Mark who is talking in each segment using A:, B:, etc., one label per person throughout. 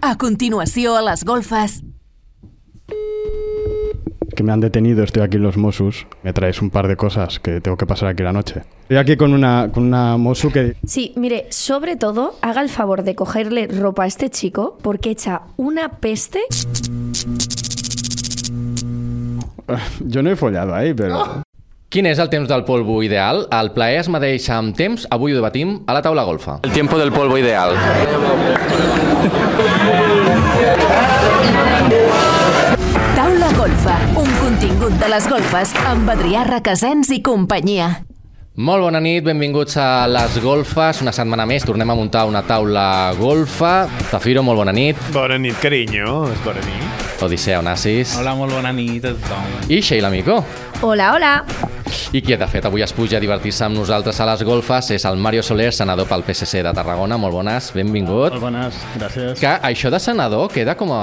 A: A continuació, a les golfes...
B: que me han detenido, estoy aquí en los Mosus, me traes un par de cosas que tengo que pasar aquí la noche. Estoy aquí con una, con una Mosu que...
C: Sí, mire, sobre todo, haga el favor de cogerle ropa a este chico porque echa una peste.
B: Yo no he follado ahí, pero...
D: Quin és el temps del polvo ideal? El plaer es medeix amb temps, avui ho debatim a la taula golfa.
E: El tiempo del polvo ideal.
A: Taula Golfa, un contingut de les golfes amb Adrià Requesens i companyia.
D: Molt bona nit, benvinguts a Les Golfes. Una setmana més tornem a muntar una taula golfa. Zafiro, molt bona nit.
F: Bona nit, carinyo. És bona nit.
D: Odissea Onassis.
G: Hola, molt bona nit a tothom.
D: I Sheila Mico.
C: Hola, hola.
D: I qui, de fet, avui es puja a divertir-se amb nosaltres a les golfes és el Mario Soler, senador pel PSC de Tarragona. Molt bones, benvingut.
G: Molt bones, gràcies.
D: Que això de senador queda com a...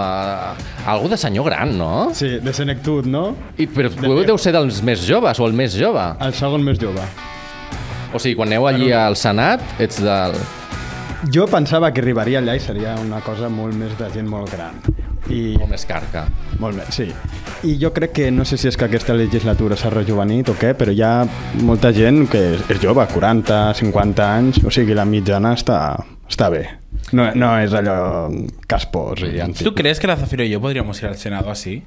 D: algo de senyor gran, no?
B: Sí, de senectut, no?
D: I, però de deu ser dels més joves o el més jove.
B: El segon més jove.
D: O sigui, quan aneu allí al Senat, ets del...
B: Jo pensava que arribaria allà i seria una cosa molt més de gent molt gran. I...
D: o més carca.
B: Molt bé, sí. I jo crec que, no sé si és que aquesta legislatura s'ha rejuvenit o què, però hi ha molta gent que és, és jove, 40, 50 anys, o sigui, la mitjana està, està bé. No, no és allò caspós i antic.
G: ¿Tú crees que la Zafiro y yo podríamos ir al Senado así?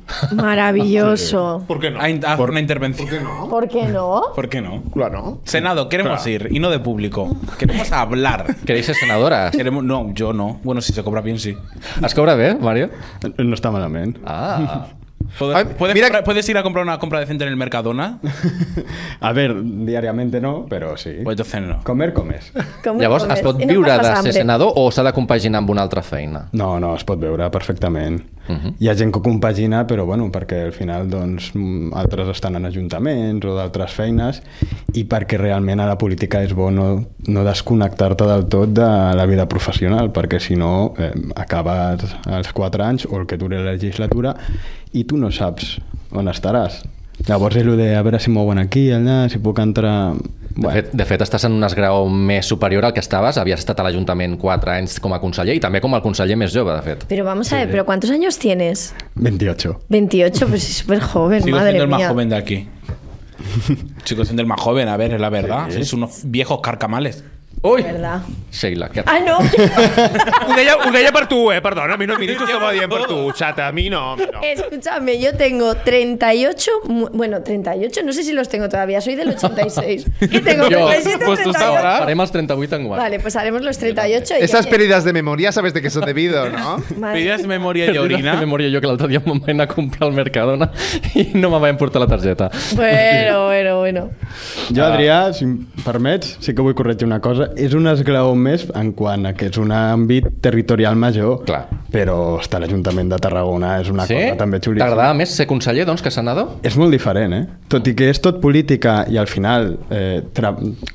H: Maravilloso.
F: Per què no?
G: A, in- a hacer una intervención. ¿Por qué no?
H: ¿Por qué no?
G: ¿Por qué no?
F: Clar, no.
G: Senado, queremos ir, y no de público. Queremos hablar.
D: Queréis ser senadores?
G: Queremos... No, yo no. Bueno, si se cobra bien, sí.
D: Es cobra bé, Mario?
B: No està malament.
D: Ah.
G: ¿Puedes,
F: Ay,
G: puedes
F: mira-
G: comprar- puedes ir a comprar una compra decente en el Mercadona?
B: A ver, diàriament no, però sí.
G: Pues entonces no.
B: Comer, comes.
H: Com
D: Llavors,
H: com
D: es
H: és?
D: pot
H: I no
D: viure de
H: passes
D: ser
H: hambre.
D: senador o s'ha de compaginar amb una altra feina? Mhm.
B: No, no, es pot veure perfectament. Hi ha gent que ho compagina, però bueno, perquè al final doncs, mm, altres estan en ajuntaments o d'altres feines i perquè realment a la política és bo no, no desconnectar-te del tot de la vida professional, perquè si no eh, acabes els 4 anys o el que dure la legislatura i tu no saps on estaràs. Llavors és el de a veure si mouen aquí, allà, si puc entrar...
D: De fet, de fet, estàs en un esgrau més superior al que estaves. Havies estat a l'Ajuntament 4 anys com a conseller i també com el conseller més jove, de fet.
C: Pero vamos a ver, ¿pero cuántos años tienes?
B: 28.
H: 28, pues es súper joven,
G: Sigo
H: madre
G: siendo el más
H: mía.
G: joven de aquí. Sigo siendo el más joven, a ver, es la verdad. Sois unos viejos carcamales.
D: Ui!
H: ¿Verdad?
D: Sheila, que...
H: Ah, no.
F: Ho deia, ho deia per tu, eh? Perdona, a mi no m'hi dic que estava dient per tu, xata. A mi no, a mi
H: Eh,
F: no.
H: Escúchame, yo tengo 38, mu- bueno, 38, no sé si los tengo todavía, soy del 86. ¿Qué tengo?
D: Yo,
H: 37,
G: pues tú
H: 38.
G: sabrás.
D: farem els 38 en guany.
H: Vale, pues haremos los 38. y
I: Esas
H: oye,
I: pérdidas de memoria sabes de qué son debido, ¿no?
H: madre-
G: ¿Pedías memoria y
D: Orina?
G: orina?
D: memoria jo que l'altre dia me'n vaig anar a comprar al Mercadona i no me va emportar la targeta.
H: Bueno, bueno, bueno.
B: Jo, Adrià, si em permets, sí que vull corregir una cosa. És un esglaó més en quant a que és un àmbit territorial major,
D: Clar.
B: però estar a l'Ajuntament de Tarragona és una
D: Sí?
B: cosa també xulíssima.
D: T'agradava més ser conseller, doncs, que senador?
B: És molt diferent, eh? Tot i que és tot política i al final eh, tra-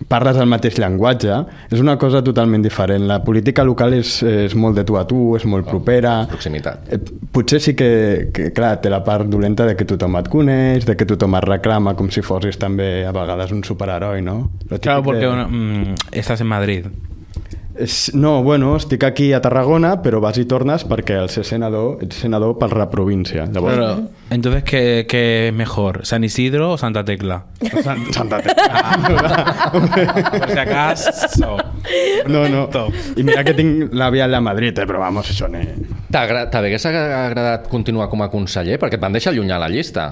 B: parles el mateix llenguatge, és una cosa totalment diferent. La política local és, és molt de tu a tu, és molt propera...
D: Proximitat.
B: Eh, Potser sí que, que, clar, té la part dolenta de que tothom et coneix, de que tothom et reclama com si fossis també a vegades un superheroi, no? Lo
G: Claro,
B: típic
G: porque
B: de-
G: bueno, mm, estás en Madrid.
B: És- No, bueno, estic aquí a Tarragona, però vas i tornes perquè al ser senador ets senador per la província. Llavors,
G: Pero, entonces, ¿qué, qué es mejor? ¿San Isidro o Santa Tecla?
B: Sant- Santa Ah, Tecla.
G: Por si acaso.
B: No, no. I mira que tinc la via a Madrid, eh, però vamos, això no...
D: T'agra- T'hagués agra- agradat continuar com a conseller? Perquè et van deixar lluny a la llista.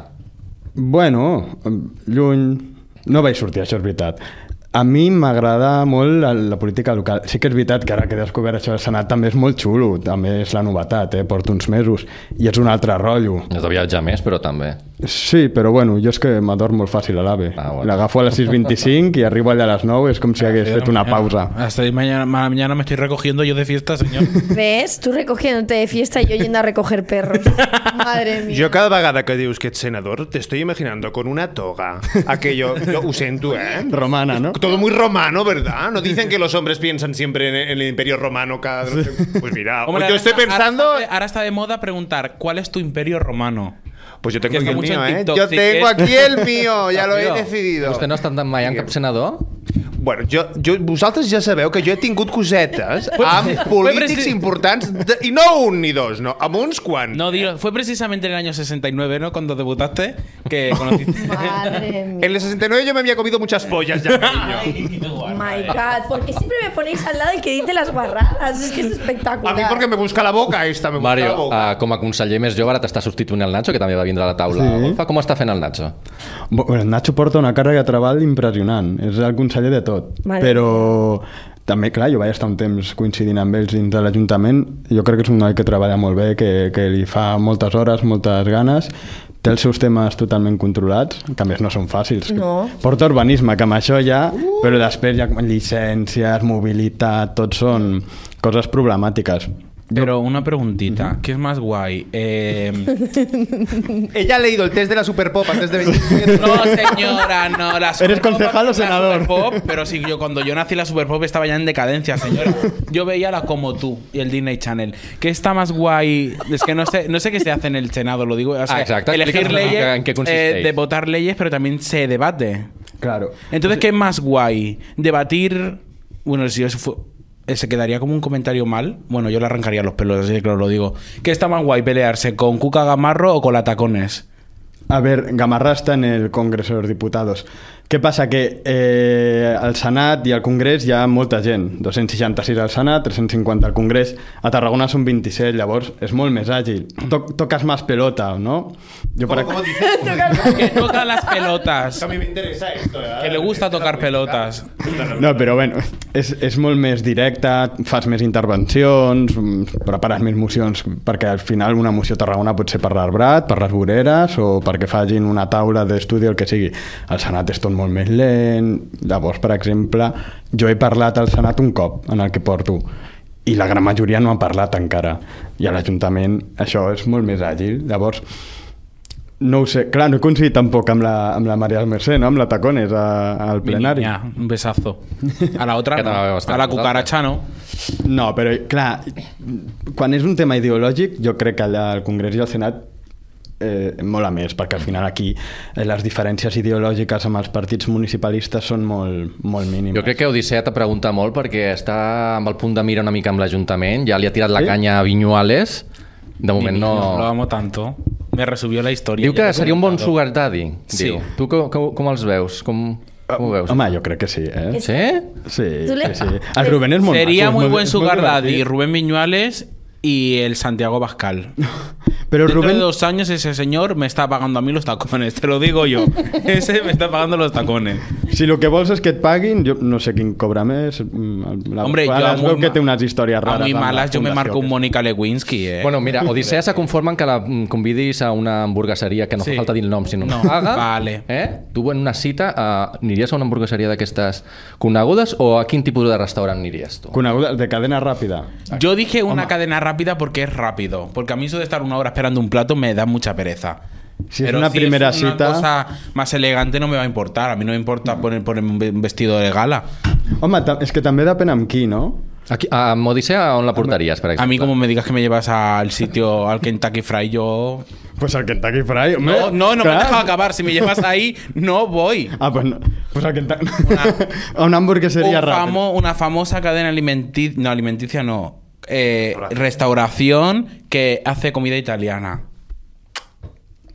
B: Bueno, lluny... No vaig sortir, això és veritat. A mi m'agrada molt la, la política local. Sí que és veritat que ara que he descobert això del Senat també és molt xulo, també és la novetat, eh? porto uns mesos, i és un altre rotllo.
D: No de viatjar més, però també.
B: Sí, però bueno, jo és que m'adorm molt fàcil a l'AVE.
D: Ah,
B: Ah,
D: bueno.
B: bueno. L'agafo a les 6.25 i arribo allà a les 9, és com si hagués fet una pausa.
G: Hasta mañana, ma- mañana me estoy recogiendo yo de fiesta, señor.
H: ¿Ves? Tú recogiéndote de fiesta y yo yendo a recoger perros. Madre mía.
F: Jo cada vegada que dius que ets senador, te estoy imaginando con una toga. Aquello, jo ho sento, eh?
B: Romana, no?
F: Todo muy romano, ¿verdad? No dicen que los hombres piensan siempre en en el imperio romano cada... Pues mira,
G: Hombre,
F: yo
G: ahora
F: estoy
G: está-
F: pensando...
G: Ahora, está- ahora está de moda preguntar: ¿cuál es tu imperio romano?
F: Pues yo tengo
G: que
F: aquí
G: está
F: el
G: mucho en
F: mío, ¿eh?
G: TikTok,
I: Yo
G: sí
I: tengo
G: que- Pues
I: aquí el mío, ya lo he
D: Tío,
I: decidido.
D: Vostè no ha estat mai amb cap senador?
F: Bueno, jo, jo, vosaltres ja sabeu que jo he tingut cosetes amb polítics
G: presi-
F: importants, de, i no un ni dos, no, amb uns quants.
G: No, digo, fue precisamente en el año 69, ¿no? Cuando debutaste, que conociste.
H: Madre mía.
F: En el 69 yo me había comido muchas pollas ya, cariño.
H: My God, ¿por qué siempre me ponéis al lado el que dice las guarradas? Es que es
F: A
H: espectacular.
F: mi perquè me busca la boca esta, me busca la
D: Mario,
I: ah.
F: boca.
D: uh, com a conseller més jove ara t'està substituint el Nacho, que també va vindre a la taula.
B: Sí.
D: Sí. Com està fent el Nacho?
B: Bo- Bueno, Nacho porta una càrrega de treball impressionant. És el conseller de tot.
H: Mare
B: Però també, clar, jo vaig estar un temps coincidint amb ells dins de l'Ajuntament. Jo crec que és un noi que treballa molt bé, que, que li fa moltes hores, moltes ganes, té els seus temes totalment controlats, que a més no són fàcils.
H: No.
B: Porta urbanisme, que amb això ja... Però després ja com llicències, mobilitat, tot són coses problemàtiques.
G: Pero una preguntita, ¿qué es más guay? Eh,
I: Ella ha leído el test de la Superpop antes de venir.
G: no, señora, no. La Superpop-
B: concejal o
G: la
B: senador?
G: Superpop, pero sí, yo cuando yo nací la Superpop estaba ya en decadencia, señora. Yo veía la Como Tú y el Disney Channel. ¿Qué está más guay? Es que no sé, no sé qué se hace en el Senado, lo digo. o sea,
D: Ah, exacto.
G: Elegir
D: Explícanos,
G: leyes,
D: ¿en qué consiste?
G: eh, de votar leyes, pero también se debate.
B: Claro.
G: Entonces, ¿qué es más guay? Debatir. Bueno, si eso fue. eh, Se quedaría como un comentario mal. Bueno, yo le arrancaría los pelos, así de claro lo digo. ¿Qué está más guay pelearse con Cuca Gamarro o con la Tacones?
B: A ver, Gamarra está en el Congreso de los Diputados. Què passa? Que eh, al Senat i al Congrés hi ha molta gent. 266 al Senat, 350 al Congrés. A Tarragona són 27, llavors és molt més àgil. Toc, toques más pelota, no? Jo per...
F: ¿Cómo dices?
G: Que toca las pelotas.
F: A mí me interesa esto. ¿eh?
G: Que le gusta tocar pelotas.
B: No, però bueno, és, és molt més directe, fas més intervencions, mm, prepares més mocions, perquè al final una moció a Tarragona pot ser per l'arbrat, per les voreres, o perquè facin una taula d'estudi, el que sigui. El Senat és tot molt més lent, llavors, per exemple, jo he parlat al Senat un cop, en el que porto, i la gran majoria no ha parlat encara. I a l'Ajuntament això és molt més àgil. Llavors, no ho sé, clar, no he coincidit tampoc amb la, amb la Maria del Mercè, no? amb la Tacones, a, al
G: Mi
B: plenari.
G: niña, un besazo. A la otra,
D: Que
G: no.
D: no la veo bastante.
G: a la cucaracha, no.
B: No, però clar, quan és un tema ideològic, jo crec que allà al Congrés i al Senat eh, mola més, perquè al final aquí eh, les diferències ideològiques amb els partits municipalistes són molt, molt mínimes.
D: Jo crec que Odissea te pregunta molt perquè està amb el punt de mira una mica amb l'Ajuntament, ja li ha tirat la
B: Sí?
D: canya a Viñuales, de moment no...
G: Lo amo tanto. Me resubió la historia.
D: Diu que seria un bon sugar daddy,
G: Sí.
D: diu. Tu com, com, com els veus? Com, com ho veus?
B: Ah, Home, jo crec que sí, eh?
D: Sí?
B: Sí,
H: Tu li-
B: sí, sí. El Rubén és molt maco,
G: Sería
B: és
G: muy
B: molt-
G: buen
B: és molt
G: sugar daddy.
B: divertit.
G: Rubén Viñuales y el Santiago Bascal.
B: Però
G: Dentro
B: Rubén...
G: de dos años ese señor me está pagando a mí los tacones, te lo digo yo. ese me está pagando los tacones.
B: Si el que vols és que et paguin, jo no sé quin cobra més. mm, La
G: Hombre, yo
B: Juana
G: a
B: es
G: muy
B: veu que
G: ma-
B: té unes històries
G: a
B: rares.
G: muy
B: amb la
G: malas yo me
B: fundació
G: marco un
B: aquesta.
G: Mónica Lewinsky, eh.
D: Bueno, mira, Odissea se conforma en que la mm, convidis a una hamburgueseria que no
G: Sí.
D: fa falta dir el nom, si no,
G: No,
D: no. paga.
G: vale.
D: Eh? Tu en una cita eh, aniries a una hamburgueseria d'aquestes conegudes o a quin tipus de restaurant aniries tu?
B: Coneguda, de cadena ràpida.
G: yo dije una cadena rápida porque es rápido, porque a mí eso de estar una hora esperando un plato me da mucha pereza.
B: Si és una primera
G: es una
B: cita...
G: cosa más elegante no me va a importar. A mí no me importa poner, ponerme un ve- un vestido de gala.
B: Home, ta- és que també depèn amb qui, no?
D: Aquí, a Odissea on la portaries, per exemple?
G: A mí como me digas que me llevas al sitio, al Kentucky Fry, yo...
B: Pues al Kentucky Fry, home.
G: No, no, no me
B: clar.
G: dejas acabar. Si me llevas ahí, no voy.
B: Ah, pues no. Pues al Kentucky... Una, una hamburgueseria
G: un
B: ràpida.
G: famo- una famosa cadena alimenticia, no, alimenticia no, eh, restauración que hace comida italiana.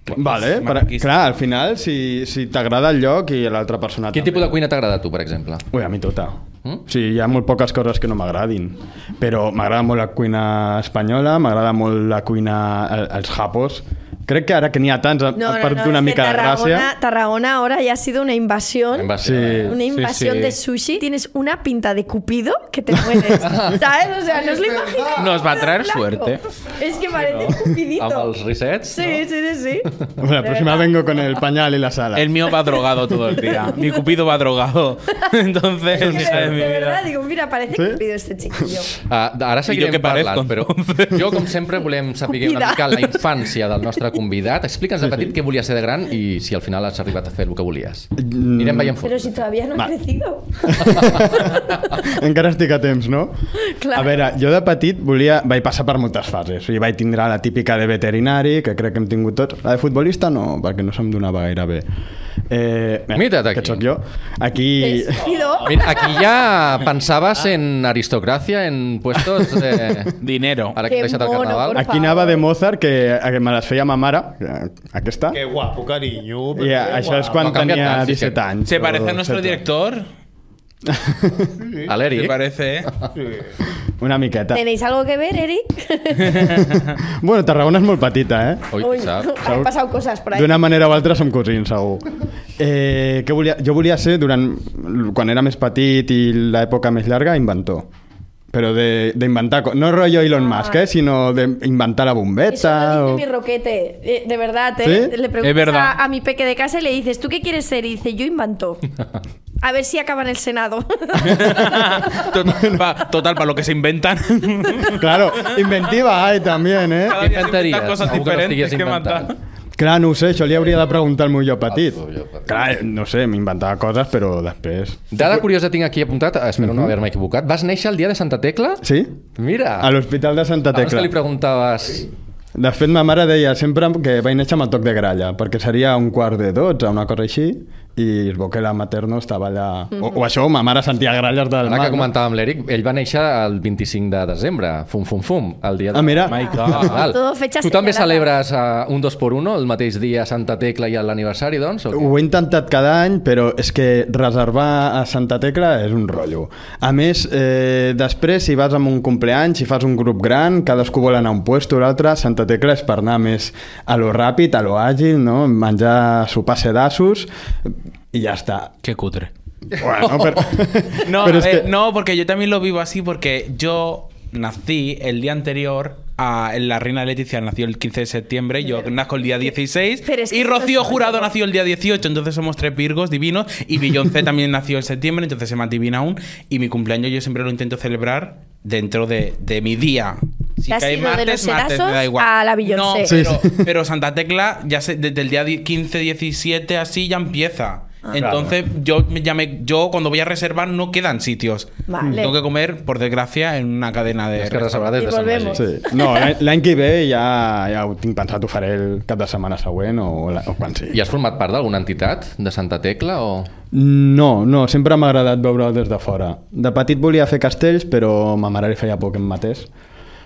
G: Pues,
B: Vale, per,
G: Maquíssim.
B: clar, al final, si, si t'agrada el lloc i l'altra persona
D: Quin
B: també.
D: tipus de cuina t'agrada a tu, per exemple?
B: Ui, a mi tota.
D: Mm?
B: Sí, hi ha molt poques coses que no m'agradin. Però m'agrada molt la cuina espanyola, m'agrada molt la cuina eh, els japos. Crec que ara que n'hi ha tants ha,
H: No,
B: ha
H: no,
B: perdut
H: no,
B: una
H: es que
B: mica de gràcia.
H: Tarragona, Tarragona ahora ya ha sido una invasión.
D: Invasió,
B: Sí.
D: eh?
H: Una invasión
G: sí.
H: de sushi. Tienes una pinta de cupido que te mueres. ¿Sabes? O sea, no os lo imagináis.
G: Nos va a traer suerte.
H: Es que parece un
D: Amb
H: cupidito.
D: els risets?
H: Sí, sí, sí, sí.
B: Bueno, la próxima vengo con el pañal y la sala.
G: El mío va drogado todo el día. Mi cupido va drogado. Entonces,
H: Que
G: hija de
H: de,
G: mi
H: de
G: vida.
H: verdad, digo, mira, parece
B: ¿Sí?
H: cupido este chiquillo.
D: Ah, ara seguirem
G: jo què parezco,
D: parlant, però
G: entonces?
D: jo, com sempre, volem saber una
H: Convidat.
D: mica la infància del nostre convidat. Explica'ns de petit què volia ser de gran i si al final has arribat a fer el que volies.
B: Mm.
D: Anirem veient
H: Pero
D: fotos.
H: si todavía no ha crecido.
B: Encara estic a temps, no?
H: Clar.
B: A veure, jo de petit volia... vaig passar per moltes fases. O sigui, vaig tindre la típica de veterinari, que crec que hem tingut tots. La de futbolista no, perquè no se'm donava gaire bé. Eh, mira,
D: Mira't aquí.
B: Que sóc jo. Aquí...
H: Ido.
D: Mira, aquí ya pensabas en aristocracia, en puestos de...
G: Dinero.
D: Ahora que
H: Qué
D: he deixat el
H: mono,
D: carnaval.
H: por
B: Aquí anava de Mozart, que, que me les feia ma mare, que- aquesta,
F: Que guapo, carinyo.
B: i això és quan
D: No ha
B: tenia
D: canviat tant, sí, sí.
B: 17 anys.
G: eh, ¿Se parece
B: o
G: a nuestro
B: 17.
G: director?
D: A l'Eric.
G: Se parece, ¿eh?
B: Una miqueta.
H: ¿Tenéis algo que ver, Eric?
B: Bueno, Tarragona és molt petita, eh?
D: Ui,
H: Uy,
D: sap.
H: han pasado cosas por ahí.
B: D'una manera o altra som cosins, segur. Eh, què volia, jo volia ser, durant, quan era més petit i l'època més llarga, inventor. Però de- d'inventar... co- No rotllo Elon Musk,
H: Ah.
B: eh? Sinó d'inventar la
H: Eso
B: bombeta...
H: lo dice
B: O...
H: mi roquete, eh, de verdad, ¿eh?
B: ¿Sí?
H: Le preguntas
G: Es verdad.
H: A, a mi peque de casa y le dices, ¿tú qué quieres ser? Y dice, yo invento. A ver si acaba en el Senado.
G: total, pa- total, para lo que se inventan.
B: Claro, inventiva, ai, també, eh?
G: Cada día se inventan
D: Inventaries,
G: cosas
D: algo que no
G: diferentes
D: estigues
G: que
D: inventant.
G: matar.
B: Clar, no ho sé, això li hauria de preguntar al meu jo petit.
D: Al teu jo petit.
B: Clar, no sé, m'inventava coses, però després...
D: Dada curiosa tinc aquí apuntat, eh, espero no haver-me equivocat. Vas néixer el dia de Santa Tecla?
B: Sí?
D: Mira.
B: A l'Hospital de Santa
D: Abans que
B: Tecla.
D: li preguntaves...
B: De fet, ma mare deia sempre que vaig néixer amb el toc de gralla, perquè seria un quart de 12, una cosa així, i es veu que la materno estava allà... o, o això, o ma mare sentia gralles del
D: Ara
B: mar.
D: que
B: no?
D: comentàvem l'Eric, ell va néixer el 25 de desembre, fum, fum, fum, el dia de...
B: Ah, mira.
G: My
D: Ah,
G: God.
D: val.
H: Todo fecha
D: tu també
H: señalada.
D: celebres uh, un 2x1 el mateix dia Santa Tecla i l'aniversari, doncs? O
G: Uh,
D: què?
B: Ho he intentat cada any, però és que reservar a Santa Tecla és un rotllo. A més, eh, després, si vas amb un compleany, si fas un grup gran, cadascú vol anar a un puesto o l'altre, Santa Tecla és per anar més a lo ràpid, a lo àgil, no? menjar sopar sedassos, i ja està.
G: Qué cutre.
B: Bueno, però...
G: No,
B: però
G: a
B: és
G: ver,
B: que-
G: no, porque yo también lo vivo así porque yo nací el día anterior a en la reina Leticia nació el 15 de septiembre, yo nazco el día 16
H: Pero es que
G: y
H: esto es
G: Rocío
H: una
G: Jurado
H: cosa.
G: nació el día 18, entonces somos tres virgos divinos y Beyoncé también nació en septiembre, entonces se me adivina aún y mi cumpleaños yo siempre lo intento celebrar dentro de, de mi día. Si
H: Te has
G: cae
H: ido de los sedazos a la Beyoncé.
G: No,
H: Sí,
G: pero, pero Santa Tecla ya se- desde el día di- 15, 17 así ya empieza. Entonces yo me llamé, yo cuando voy a reservar no quedan sitios.
H: Vale.
G: Tengo que comer por desgracia en una cadena de
D: Tens que reservar des
H: I
D: de Sant
H: volvemos.
D: Magí.
B: Sí. No, l'any- l'any que ve ja, ja ho tinc pensat, ho faré el cap de setmana següent o, la, o quan sigui.
D: I has format part d'alguna entitat de Santa Tecla o...?
B: No, no, sempre m'ha agradat veure'l des de fora. De petit volia fer castells, però ma mare li feia por que em matés.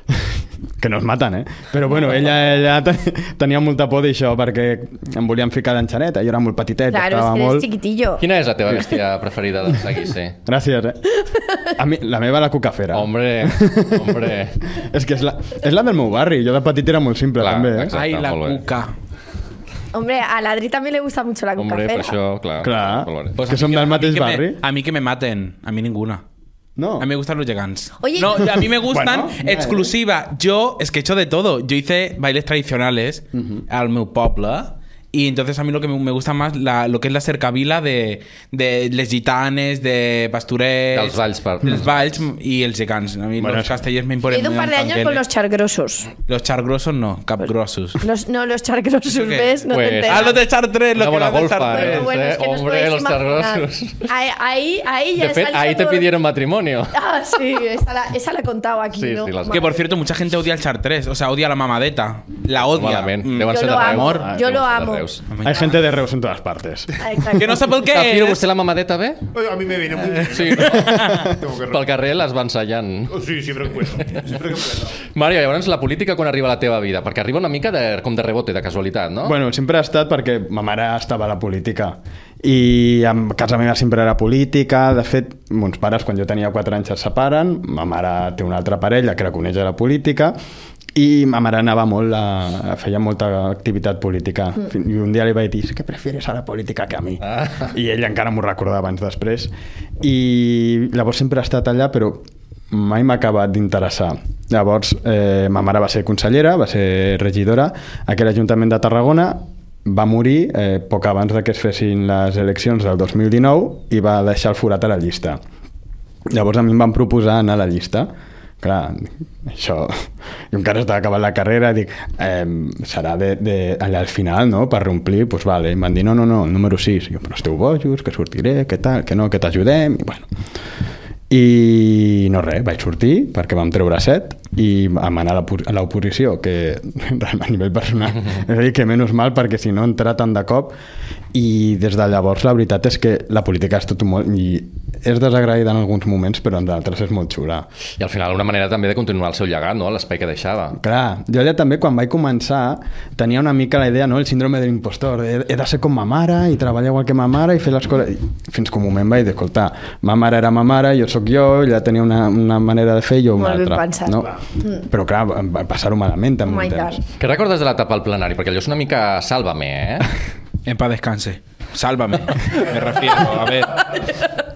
B: que no es maten, eh? Però bueno, ella, ella te- tenia molta por d'això perquè em volien ficar l'enxaneta, jo era molt petitet,
H: claro, es
B: estava
H: que eres
B: molt...
H: chiquitillo.
D: Quina és la teva vestida preferida de seguir-se?
B: Gràcies, eh? A mi, la meva la cucafera.
D: Hombre, hombre...
B: És que és la, és la del meu barri, jo de petit era molt simple,
D: Clar,
B: també, eh?
D: exacte.
G: Ay, la
D: Está muy bien.
G: cuca.
H: Hombre, a Ladri también le gusta mucho la
D: Hombre, pues per
H: cucafera.
D: això, clar.
B: Clar.
D: colores.
B: Que
G: a mí
B: son del
G: a mí
B: mateix
G: que me-
B: barri.
G: a mí que me maten, a mí ninguna.
B: No.
G: A mí me gustan los Yegans.
H: Oye,
G: no,
H: y-
G: a mí me gustan
B: Bueno,
G: exclusivas exclusiva. Yo es que he hecho de todo. Yo hice bailes tradicionales al meu poble y entonces a mí lo que me, me gusta más la- lo que es la cercavila de, de les gitanes, de pasturés,
D: Dels balls, per-
G: dels balls y el yegans. A mí
B: Bueno,
G: los
B: es-
G: castellers me
H: Yo he
G: imponen.
H: ido un par de años con los chargrosos.
G: los chargrosos no, capgrosos.
H: Los, no, los chargrosos,
G: ¿Eso qué?
H: ¿ves? No
D: Pues,
H: te enteras.
G: Ah, los de char tres,
D: Una
G: los que
D: buena
G: van del char
D: golfa,
G: tres.
D: ¿eh?
H: Pero bueno, es que no os
D: Hombre,
H: podéis
D: los
H: imaginar.
D: chargrosos.
H: Ahí, ahí, ahí ya
D: De fet,
H: salía
D: ahí te
H: todo-
D: pidieron matrimonio.
H: Ah, sí, esa la, esa la he contado aquí,
D: Sí,
H: ¿no?
D: sí, las-
G: Que por cierto, mucha gente odia el Char 3, o sea, odia la mamadeta. La odia.
D: Malament.
G: Mm. Ah,
D: Deuen
H: Yo
D: ser de
H: lo amo,
D: Reus.
H: yo
D: Deuen
H: lo
D: ser de
H: amo.
D: Reus.
B: Hay gente de Reus en todas partes.
H: Ah, exacto.
G: Que no sé por qué.
D: Zafiro,
G: es.
D: vostè la mamadeta bé?
F: A mí me viene muy bien.
D: Sí, no?
F: Tengo que
D: Pel carrer les va ensenyant.
F: Oh, Sí, siempre que puedo. Siempre que puedo.
D: Mario, llavors la política quan arriba a la teva vida? Perquè arriba una mica de, com de rebote, de casualitat, no?
B: Bueno, sempre ha estat perquè ma mare estava a la política i a casa meva sempre era política de fet, mons pares quan jo tenia 4 anys es separen, ma mare té una altra parella que la coneix a la política i ma mare anava molt a, feia molta activitat política Fin- i un dia li vaig dir, "És que prefieres a la política que a mi
D: Ah.
B: i ell encara m'ho recordava abans després i llavors sempre ha estat allà però mai m'ha acabat d'interessar. Llavors, eh, ma mare va ser consellera, va ser regidora, aquell Ajuntament de Tarragona va morir eh, poc abans de que es fessin les eleccions del 2019 i va deixar el forat a la llista. Llavors a mi em van proposar anar a la llista. Clar, això... Jo encara estava acabant la carrera, dic, eh, serà de, de, allà al final, no?, per reomplir, doncs vale. I em van dir, no, no, no, número 6. Jo, però esteu bojos, que sortiré, que tal, que no, que t'ajudem, i bueno. I no res, vaig sortir, perquè vam treure set, i em anar a la pu- a l'oposició, que a nivell personal, és a dir, que menys mal perquè si no entrar tant de cop i des de llavors la veritat és que la política és tot molt... i és desagraïda en alguns moments però en d'altres és molt xula.
D: I al final una manera també de continuar el seu llegat, no? L'espai que deixava.
B: Clar, jo ja també quan vaig començar tenia una mica la idea, no?, el síndrome de l'impostor, he, he de ser com ma mare i treballar igual que ma mare i fer les coses... I Fins que un moment vaig dir, escolta, ma mare era ma mare, jo sóc jo, ella tenia una, una manera de fer i jo una
H: Molt ben
B: altra.
H: pensat. Mm.
B: no? Però clar, em va passar-ho malament
H: Oh
B: també
H: my
B: un
H: God.
B: temps.
D: Què recordes de l'etapa al plenari? Perquè allò és una mica sàlvame, eh?
G: En paz descanse. Sálvame. Me refiero. A ver.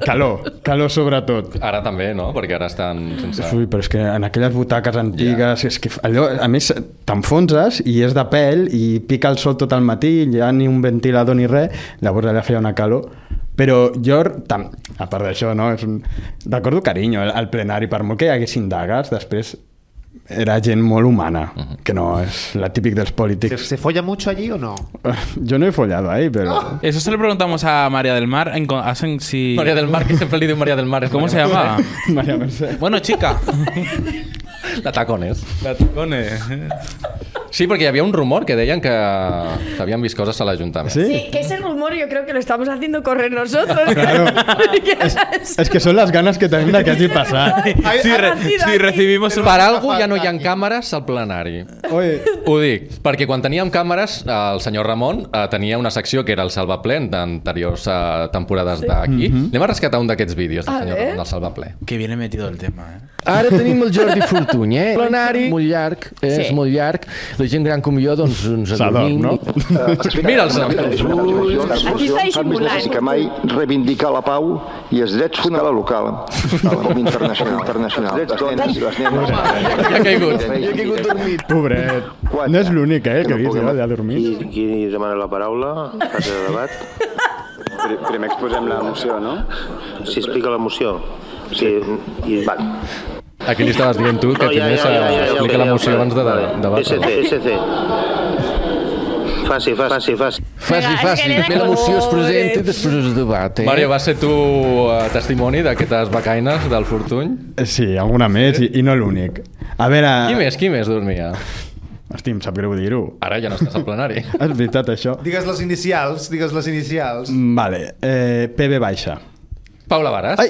B: Calor, calor sobretot.
D: Ara també, no? Perquè ara estan sense...
B: Ui, però és que en aquelles butaques antigues, és que allò, a més, t'enfonses i és de pèl i pica el sol tot el matí, ja ni un ventilador ni res, llavors allà feia una calor. Però jo, tam, a part d'això, no, és un... recordo carinyo al- al plenari, per molt que hi haguessin dagues, després era gent molt humana, que no és la típic dels
I: ¿Se,
B: polítics.
I: se folla mucho allí o no?
B: Jo no he follado ahí, però...
G: Eso se lo preguntamos a María del Mar. En, co- hacen si...
D: María del Mar, que siempre le digo María del Mar. es
G: ¿Cómo se
D: María
G: llama?
B: Maria Mercè.
G: Bueno, chica.
D: Mar. La Tacones.
G: La tacone.
D: Sí, perquè hi havia un rumor que deien que s'havien vist coses a l'Ajuntament.
B: Sí?
H: Sí, que ese rumor yo creo que lo estamos haciendo correr nosotros. Porque es-
B: És que són les ganes que tenim de que hagi passat.
I: Hay-
G: Si,
F: ah,
I: hay-
G: re-
H: nacido
G: si
H: aquí.
G: recibimos un...
D: Per algú ja no hi ha càmeres al plenari.
B: Oi,
D: Ho dic, perquè quan teníem càmeres, eh, el senyor Ramon eh, tenia una secció que era el salvaplén d'anteriors eh, temporades d'aquí. Anem a rescatar un d'aquests vídeos del
H: Mhm. A
D: senyor
H: ver.
D: Ramon del salvaplé.
G: Que viene metido el tema, eh.
E: Ara tenim el Jordi Fortuny, eh? Plenari. Molt llarg, eh?
H: Sí.
E: és molt llarg. La gent gran com jo, doncs, ens
B: S'adorm,
E: adormim.
B: no?
D: Mira'ls.
H: Aquí està dissimulant.
J: que mai reivindicar la pau i els drets fonamentals local, com internacional. internacional. Els drets dones i les nenes.
D: Ja ha caigut.
B: pobret. No és l'únic, eh, que no vist, ja dormir.
J: Qui demana la paraula? Fase de debat. Primer exposem la moció, no? Si explica la moció. Sí, i... Vale.
D: Aquí li estaves dient tu que primer s'explica l'emoció abans de de- de
J: SC,
D: debatre.
J: SC. Faci, faci, faci, faci.
E: Faci,
H: Vinga,
E: faci.
H: és que
E: Primer la moció es presenta i
H: pobret.
E: després es debat, eh?
D: Mario, vas ser tu eh, testimoni d'aquestes becaines del Fortuny?
B: Sí, alguna més i, i no l'únic. A veure...
D: Qui més? Qui més dormia?
B: Hosti, em sap greu dir-ho.
D: Ara ja no estàs al plenari.
E: Ah.
B: És veritat, això.
I: Digues les inicials, digues les inicials.
B: Mm, Vale, eh, PB baixa.
D: Paula Varas.
B: Ai!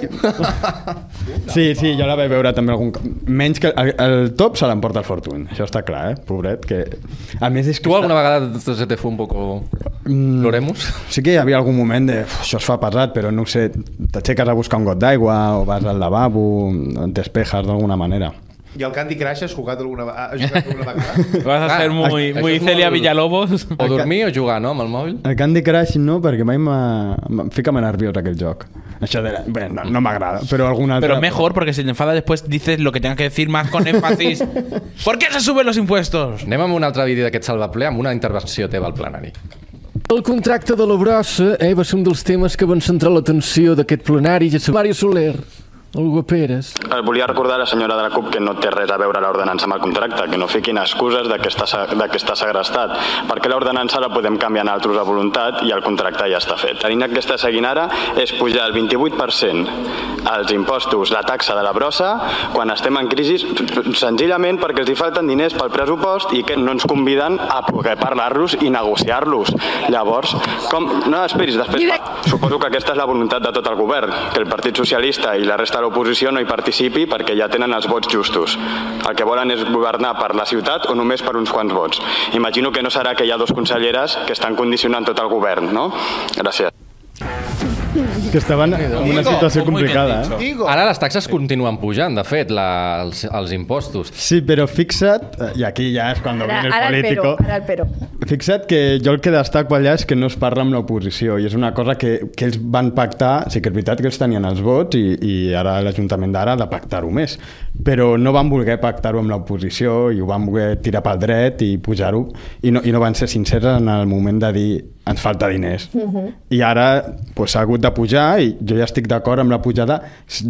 B: Sí, sí, jo la vaig veure també algun cop. Menys que el, el top se l'emporta el Fortune, això està clar, eh? Pobret, que... A més, és que...
D: Tu alguna vegada se te fue un poco... L'oremus?
B: Sí que hi havia algun moment de "Uf, això es fa pesat, però no ho sé, t'aixeques a buscar un got d'aigua o vas al lavabo, et despejas d'alguna manera.
I: I el Candy Crush has jugat alguna, ve- has jugat alguna vegada?
G: Vas a ser muy,
D: això
G: muy
D: és
G: Celia
D: molt-
G: Villalobos.
D: O dormir o jugar, no?, amb el mòbil.
B: El Candy Crush no, perquè mai m'ha- em fica més nerviós aquell joc. Això de la... Bé, no, no m'agrada, però algun altre...
G: Pero mejor, porque si te enfadas después dices lo que tengas que decir más con énfasis. ¿Por qué se suben los impuestos?
D: Anem amb un altre vídeo d'aquest salvaple amb una intervenció teva al plenari.
E: El contracte de la brossa eh, va ser un dels temes que van centrar l'atenció d'aquest plenari. Ja sé, Mario Soler, el Guaperes.
J: Eh, Volia recordar a la senyora de la CUP que no té res a veure l'ordenança amb el contracte, que no fiquin excuses de que està, se- de que està segrestat, perquè l'ordenança la podem canviar nosaltres a voluntat i el contracte ja està fet. La línia que està seguint ara és pujar el 28% als impostos, la taxa de la brossa, quan estem en crisi, senzillament perquè els hi falten diners pel pressupost i que no ens conviden a poder parlar-los i negociar-los. Llavors, com... No, esperis, després... Suposo que aquesta és la voluntat de tot el govern, que el Partit Socialista i la resta de l'oposició no hi participi perquè ja tenen els vots justos. El que volen és governar per la ciutat o només per uns quants vots. Imagino que no serà que hi ha dos conselleres que estan condicionant tot el govern, no? Gràcies.
B: Que estaven en una situació
G: Muy bien
B: complicada, eh?
G: dicho.
I: Digo.
D: Ara les taxes continuen pujant, de fet, la, els, els impostos.
B: Sí, pero fixa't, y aquí ya es cuando
H: Ahora,
B: viene
H: ahora el
B: el político,
H: pero, ahora el pero.
B: fixa't que jo el que destaco allà és que no es parla amb l'oposició i és una cosa que, que ells van pactar, sí que és veritat que ells tenien els vots i, i ara l'Ajuntament d'ara ha de pactar-ho més, però no van voler pactar-ho amb l'oposició i ho van voler tirar pel dret i pujar-ho i, no, i no van ser sincers en el moment de dir ens falta diners i ara pues, ha hagut de pujar i jo ja estic d'acord amb la pujada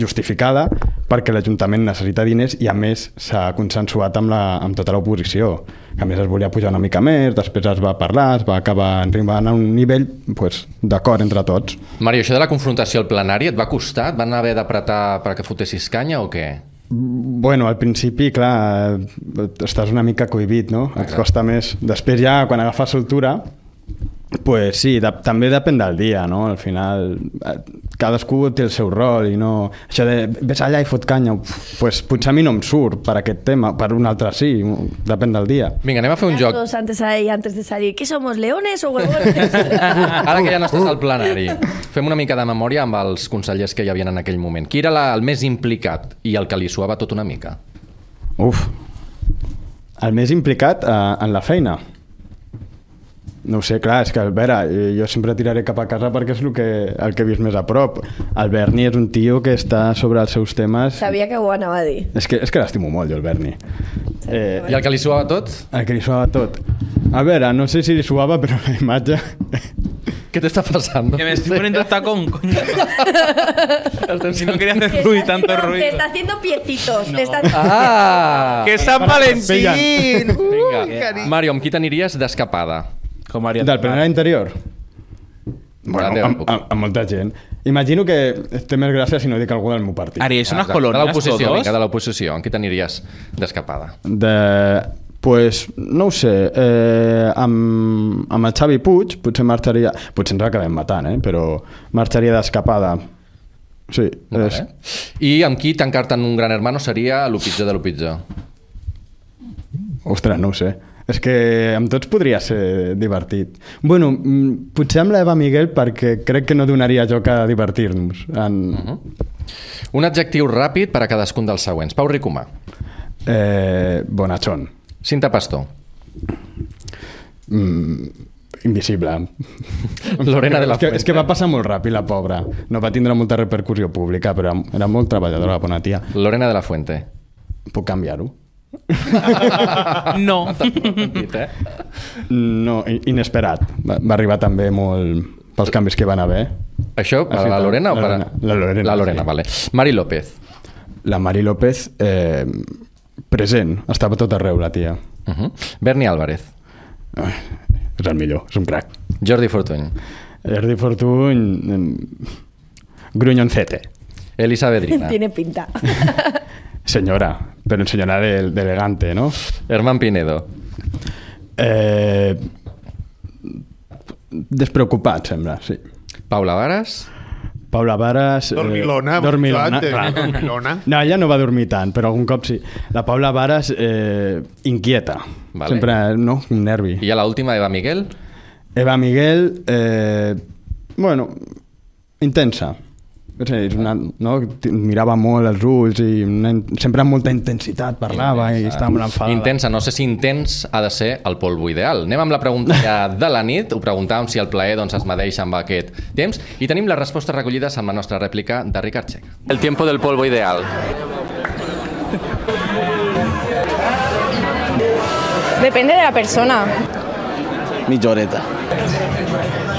B: justificada perquè l'Ajuntament necessita diners i a més s'ha consensuat amb, la, amb tota l'oposició que a més es volia pujar una mica més després es va parlar, es va acabar arribant a un nivell pues, d'acord entre tots
D: Mario, això de la confrontació al plenari et va costar? Et van haver d'apretar perquè fotessis canya o què?
B: Bueno, al principi, clar, eh, estàs una mica cohibit, no? Et costa més. Després ja, quan agafes soltura, pues sí, de, també depèn del dia, no? Al final, eh, cadascú té el seu rol i no... Això de, ves allà i fot canya, uf, pues potser a mi no em surt per aquest tema, per un altre sí, depèn del dia.
D: Vinga, anem a fer un joc.
H: Todos antes, ahí, antes de salir. ¿Qué somos, leones o huevones?
D: Ara que ja no estàs al plenari, fem una mica de memòria amb els consellers que hi havia en aquell moment. Qui era la, el més implicat i el que li suava tot una mica?
B: Uf. El més implicat eh, en la feina. No ho sé, clar, és que el Vera, eh, jo sempre tiraré cap a casa perquè és el que, el que he vist més a prop. El Berni és un tio que està sobre els seus temes...
H: Sabía que ho anava a dir.
B: És que, és que l'estimo molt, jo, el Berni. Eh,
D: I el que li suava tot?
B: El que li suava tot. A veure, no sé si li suava, però la imatge...
D: Què t'està passant?
G: Que me estoy poniendo el tacón, coño. si no quería hacer
H: Te
G: ruido,
H: está
G: tanto
H: haciendo- Te
G: ruido.
H: está haciendo piecitos. Te está
D: Ah!
G: ¡Que San
B: Pillan.
I: Valentín! Uh,
D: Vinga.
I: cariño.
D: Mario, amb qui t'aniries d'escapada?
G: Con María.
B: Del plenari interior? Bueno,
D: Dale,
B: amb, amb, amb molta gent. Imagino que té més gràcia si no dic algú del meu partit.
G: Haríais unas
D: Ah,
G: colonias
D: De l'oposició,
G: todos.
D: vinga, de l'oposició. Amb qui t'aniries d'escapada?
B: De... Pues, no ho sé, eh, amb, amb el Xavi Puig potser marxaria... Potser ens acabem matant, eh? Però marxaria d'escapada. Sí,
D: Vale.
B: és...
D: I amb qui tancar-te en un gran hermano seria lo pitjor de lo pitjor.
B: Ostres, no ho sé. És que amb tots podria ser divertit. Bueno, mm, potser amb l'Eva Miguel perquè crec que no donaria joc a divertir-nos. En...
D: Un adjectiu ràpid per a cadascun dels següents. Pau Ricomà,
B: eh, bonachón.
D: Cinta Pastor,
B: Mm, invisible.
D: Lorena de la
B: és que,
D: Fuente.
B: és que va passar molt ràpid, la pobra. No va tindre molta repercussió pública, però era molt treballadora, la bona tia.
D: Lorena de la Fuente.
B: Puc canviar-ho?
G: No.
D: Dit, eh?
B: No, i- inesperat. Va, va arribar també molt pels canvis que van haver.
D: Això per a
B: Així
D: la
B: tal.
D: Lorena o
B: La
D: per a...
B: Lorena. La Lorena,
D: La Lorena,
B: sí.
D: vale. Mari López.
B: La Mari López, eh, present, estava a tot arreu, la tia.
D: Uh -huh. Berni Álvarez.
B: Ah, És el millor, és un crac.
D: Jordi Fortuny.
B: Jordi Fortuny... mm, Grunyoncete.
D: Elisa Bedrina.
H: Tiene pinta.
B: Senyora, però senyora de- d'elegante, no?
D: Herman Pinedo.
B: Eh, despreocupat, sembla, sí.
D: Paula Varas.
B: Paula Varas... eh,
F: Dormilona,
B: dormilona, clar.
F: clar, dormilona.
B: No, ella no va dormir tant, però algun cop sí. La Paula Varas, eh, inquieta.
D: Vale.
B: Sempre, no? Un nervi.
D: I a l'última, Eva Miguel.
B: Eva Miguel, eh, bueno, intensa. És a dir, és una, no? T- Mirava molt els ulls i una, in- sempre amb molta intensitat parlava i estava molt enfadada.
D: Intensa, no sé si intens ha de ser el polvo ideal. Anem amb la pregunta ja de la nit, ho preguntàvem si el plaer doncs, es medeix amb aquest temps, i tenim les respostes recollides amb la nostra rèplica de Ricard Checa. El tiempo del polvo ideal.
K: Depende de la persona.
L: Mitja horeta.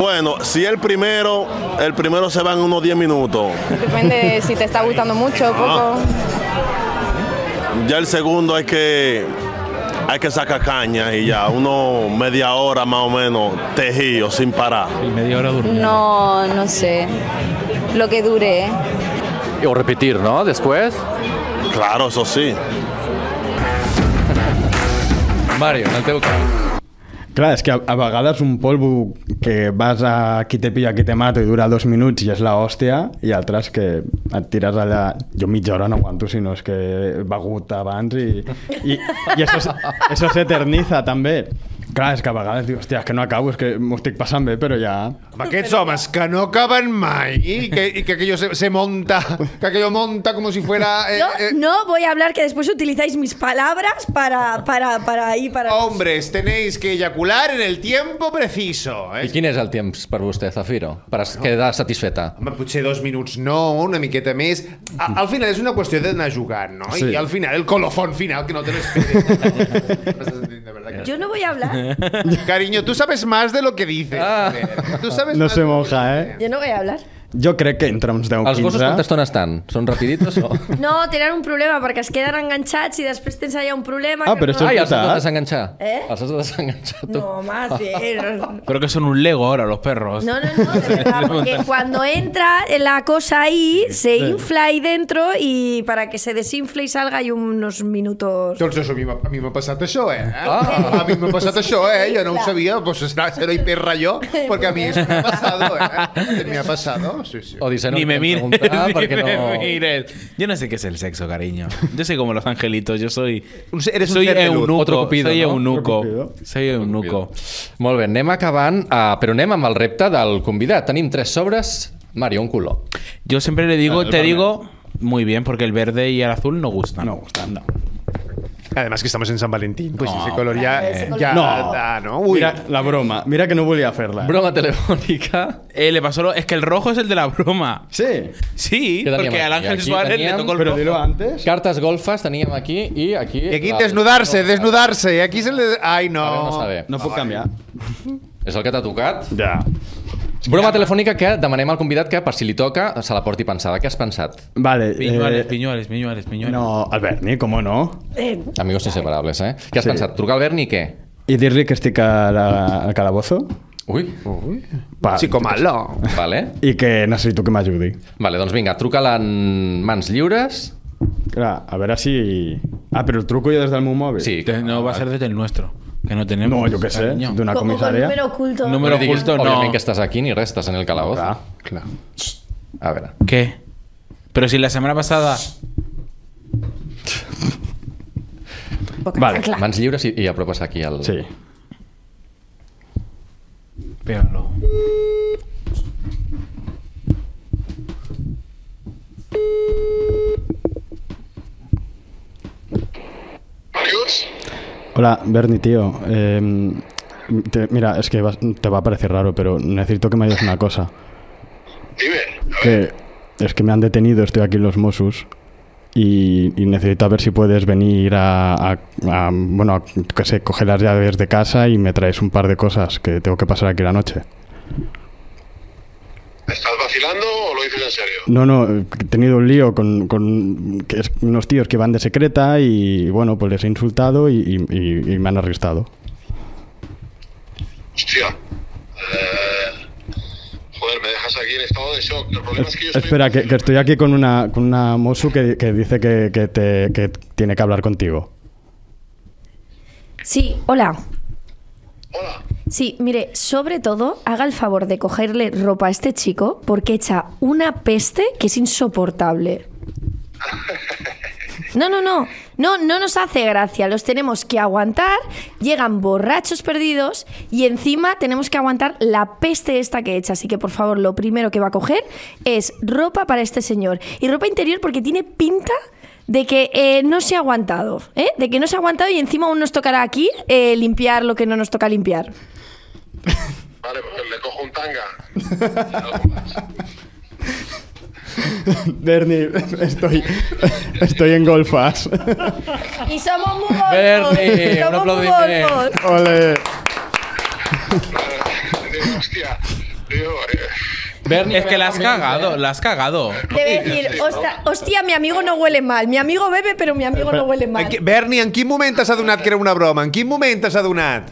M: Bueno, si el primero, el primero se va en unos 10 minutos. Ah.
K: Depende de Eh, si te está gustando mucho o poco.
M: Ya el segundo hay que hay que sacar caña y ya, uno media hora más o menos tejido sin parar.
G: media hora
K: No, no sé. Lo que dure. ¿eh?
D: O repetir, no? Després.
M: Claro, eso sí.
D: Mario, en el teu cas.
B: Clar, és que a, a vegades un polvo que vas a qui te pilla, qui te mato i dura dos minuts i és la hòstia i altres que et tires allà jo mitja hora no aguanto, sinó és que he begut abans i, i, i això, s- això s'eterniza també. Clar, és que a vegades dius, hòstia, és que no acabo, és que m'ho estic passant bé, però ja...
F: Amb aquests homes que no acaben mai i que, i que aquello se, se monta, que aquello monta como si fuera... eh,
H: Yo
F: eh,
H: no voy a hablar que después utilizáis mis palabras para, para, para ahí, para...
F: Hombres, tenéis que eyacular en el tiempo preciso. Eh?
D: I quin és el temps per vostè, Zafiro? Per es- quedar satisfeta.
F: Home, potser dos minuts no, una miqueta més. A, al final és una qüestió d'anar jugant, no?
B: Mm-hmm. Sí.
F: I al final, el colofón final, que no te lo esperes.
H: Yo no voy a hablar.
F: Cariño, tú sabes más de lo que dices. Tú sabes
B: No
F: más
B: sé,
F: de lo que
B: monja, eh?
H: Yo no voy a hablar.
B: Jo crec que entre uns 10
D: Els gossos quanta
B: 15...
D: estona estan? Són rapiditos o...?
H: No, tenen un problema perquè es queden enganxats i després tens allà un problema...
K: Ah,
H: que no...
D: Ai, els has de desenganxar.
H: Eh?
D: Els has de desenganxar tu.
H: No, más, no,
G: Creo que son un Lego ahora los perros.
H: no, no, de verdad, porque cuando entra la cosa ahí, se infla ahí dentro y para que se desinfle y salga hay unos minutos...
F: Doncs això, a mi m'ha- a mi m'ha passat això, eh?
H: Ah.
F: A mi m'ha passat això, eh? Jo no ho
H: Clar.
F: sabia, doncs serà, serà hiperra jo, perquè a mi això m'ha passat, eh? Me ha pasado, sí, sí.
G: ni me mires,
D: ah,
G: ni
F: porque
G: me
F: no-
G: mires. Yo no sé qué es el sexo, cariño. Yo soy como los angelitos, yo soy...
D: eres un
G: soy
D: ser de luz.
G: eunuco,
D: Otro cupido,
G: soy
D: no?
G: eunuco.
D: Otro
G: Soy eunuco.
D: Molt bé, anem acabant, eh, però anem amb el repte del convidat. Tenim tres sobres, Mario, un color.
G: Yo siempre le digo,
D: Claro,
G: te
D: realmente.
G: digo, muy bien, porque el verde y el azul no gustan. No
B: gustan, Ah, no.
F: Además que estamos en San Valentín, pues ese color
B: Ah,
F: ya...
B: ese color
F: ya
B: no.
F: da, ¿no? Uy.
B: Mira, la broma. Mira que no volia fer-la. eh?
D: Broma telefónica.
G: Eh, le pasó lo... Es que el rojo es el de la broma.
B: Sí.
G: Sí,
D: Què teníem
G: porque al
D: aquí?
G: Ángel
D: Aquí
G: Suárez
D: teníem-
G: le tocó el
D: Pero
G: rojo.
D: dilo
B: antes.
D: Cartes golfes teníem aquí i aquí...
F: Y aquí
D: la-
F: desnudarse, desnudarse. Y aquí se le... Ay,
D: Sabemos,
F: no.
D: sabe.
B: No puc canviar.
D: És el que t'ha tocat?
B: Ah, Ja.
D: Broma telefònica que demanem al convidat que, per si li toca, se la porti pensada. Què has pensat?
B: Vale.
G: Piñuales,
B: eh,
G: piñuales, piñuales, piñuales.
B: No, al Berni, com no?
H: Eh,
D: Amigos inseparables, eh? Què has
B: Sí.
D: pensat? Trucar al Berni i què?
B: I dir-li que estic a la, al calabozo
D: Ui.
F: Uy.
B: Pa.
F: Psicomalo.
D: Vale.
B: i que necessito que m'ajudi.
D: Vale, doncs vinga, truca-la en mans lliures.
B: Clar, a veure si... Ah, però el truco jo des del meu mòbil?
D: Sí.
G: No, va a ser desde el nuestro, que no tenemos.
B: No, jo què sé,
G: cariño.
B: d'una
H: Con- con
B: comissària.
H: número oculto.
G: Número
D: li diguis,
G: oculto, no.
D: Òbviament que estàs aquí ni res, estàs en el calabozo.
B: Clar,
F: clar.
D: A veure.
G: ¿Qué? Pero si la semana pasada...
B: Vale.
D: Mans lliures i, i a propes aquí al...
B: Sí.
G: Pégalo.
B: Hola, Berni, tío. Eh, te- mira, es que vas- te va a parecer raro, pero necesito que me digas una cosa. Dime. Que es que me han detenido, estoy aquí en los Mossos. Y, y necesito a ver si puedes venir a, a- a- bueno, a, que sé, coger las llaves de casa y me traes un par de cosas que tengo que pasar aquí la noche.
N: ¿Estás vacilando o lo dices en serio?
B: No, no, he tenido un lío con, con que es- unos tíos que van de secreta y bueno, pues les he insultado y, y- y- y me han arrestado.
N: Hostia. Eh, joder, me dejas aquí en estado de shock. El problema es que yo estoy...
B: Espera, que, que estoy aquí con una, con una Mosu que, que dice que, que te- que tiene que hablar contigo.
C: Sí, hola. Hola. Sí, mire, sobre todo, haga el favor de cogerle ropa a este chico porque echa una peste que es insoportable. No, no, no, no, no nos hace gracia, los tenemos que aguantar, llegan borrachos perdidos y encima tenemos que aguantar la peste esta que echa, así que por favor lo primero que va a coger es ropa para este señor y ropa interior porque tiene pinta de que eh, no se ha aguantado, ¿eh? de que no se ha aguantado y encima aún nos tocará aquí eh, limpiar lo que no nos toca limpiar.
N: Vale, pues le cojo un tanga.
B: Bernie, estoy, estoy en golfas.
H: Y somos muy golfos.
B: Bernie, un
H: somos muy
B: aplaudimiento.
H: golfos.
B: Ole.
N: eh,
G: Berni, es que la has cagado, la has cagado.
B: Oh,
H: Debe decir, "Hosta- hostia, mi amigo no huele mal, mi amigo bebe, pero mi amigo no huele mal.
F: En qui- Berni, en quin moment t'has adonat que era una broma? En quin moment t'has adonat?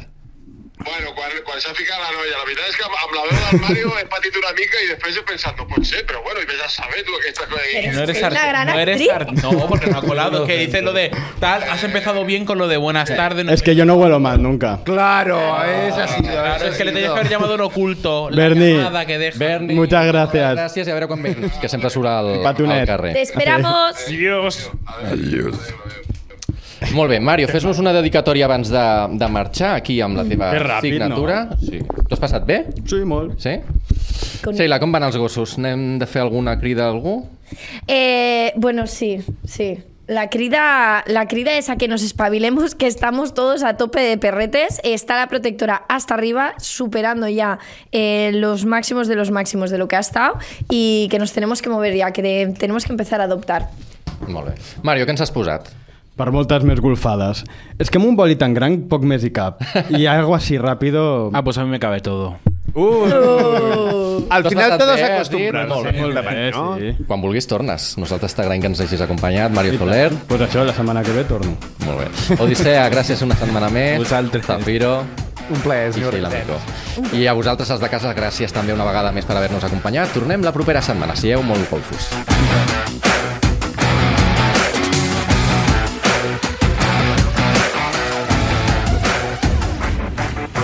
N: Bueno, quan, quan s'ha ficat la noia, la veritat és que amb, amb la veu del Mario he patit una mica i després he pensat, no pot ser, però bueno, i vés a saber tu aquesta cosa.
G: Que
N: aquí.
G: No eres, art- no, eres art- no, porque no ha colado. Que dices lo de tal, has empezado bien con lo de buenas tardes. no
B: Es que yo no vuelo mal nunca.
F: Claro, esa ha sido.
G: Claro, es que le tenías que haber llamado en oculto. La
B: Berni.
G: llamada que deja.
B: Muchas gracias.
D: Gràcies i a veure quan vens, que sempre surt al,
B: Patunet.
D: al carrer.
H: Te esperamos.
G: Adiós.
D: Adiós. Molt bé, Mario, fes-nos una dedicatòria abans de, de marxar aquí amb la teva
B: Que ràpid,
D: signatura. No? Sí. T'ho has passat bé?
B: Sí, molt.
D: Sí? Sheila, com van els gossos? N'hem de fer alguna crida a algú?
H: Eh, bueno, sí, sí. La crida, la crida es a que nos espabilemos, que estamos todos a tope de perretes. Está la protectora hasta arriba, superando ya eh, los máximos de los máximos de lo que ha estado y que nos tenemos que mover ya, que de- tenemos que empezar a adoptar.
D: Molt bé. Mario, què ens has posat?
B: Per moltes més golfades. És que amb un boli tan gran, poc més hi cap. I algo així ràpido...
G: Ah, pues a mi me cabe todo.
B: Uh!
F: Al
D: No has
F: final
D: estat
F: todos
D: bé, has
F: acostumbran.
D: dit? Molt bé, molt bé, sí. Quan vulguis tornes. Nosaltres t'agraïm que ens hagis acompanyat, Mario Soler.
B: Pues això, la setmana que ve torno.
D: Molt bé. Odissea, gràcies una setmana més. Vosaltres. Zafiro.
F: Un plaer,
D: I, Sheila Mico. I a vosaltres, els de casa, gràcies també una vegada més per haver-nos acompanyat. Tornem la propera setmana. Sigueu molt golfos.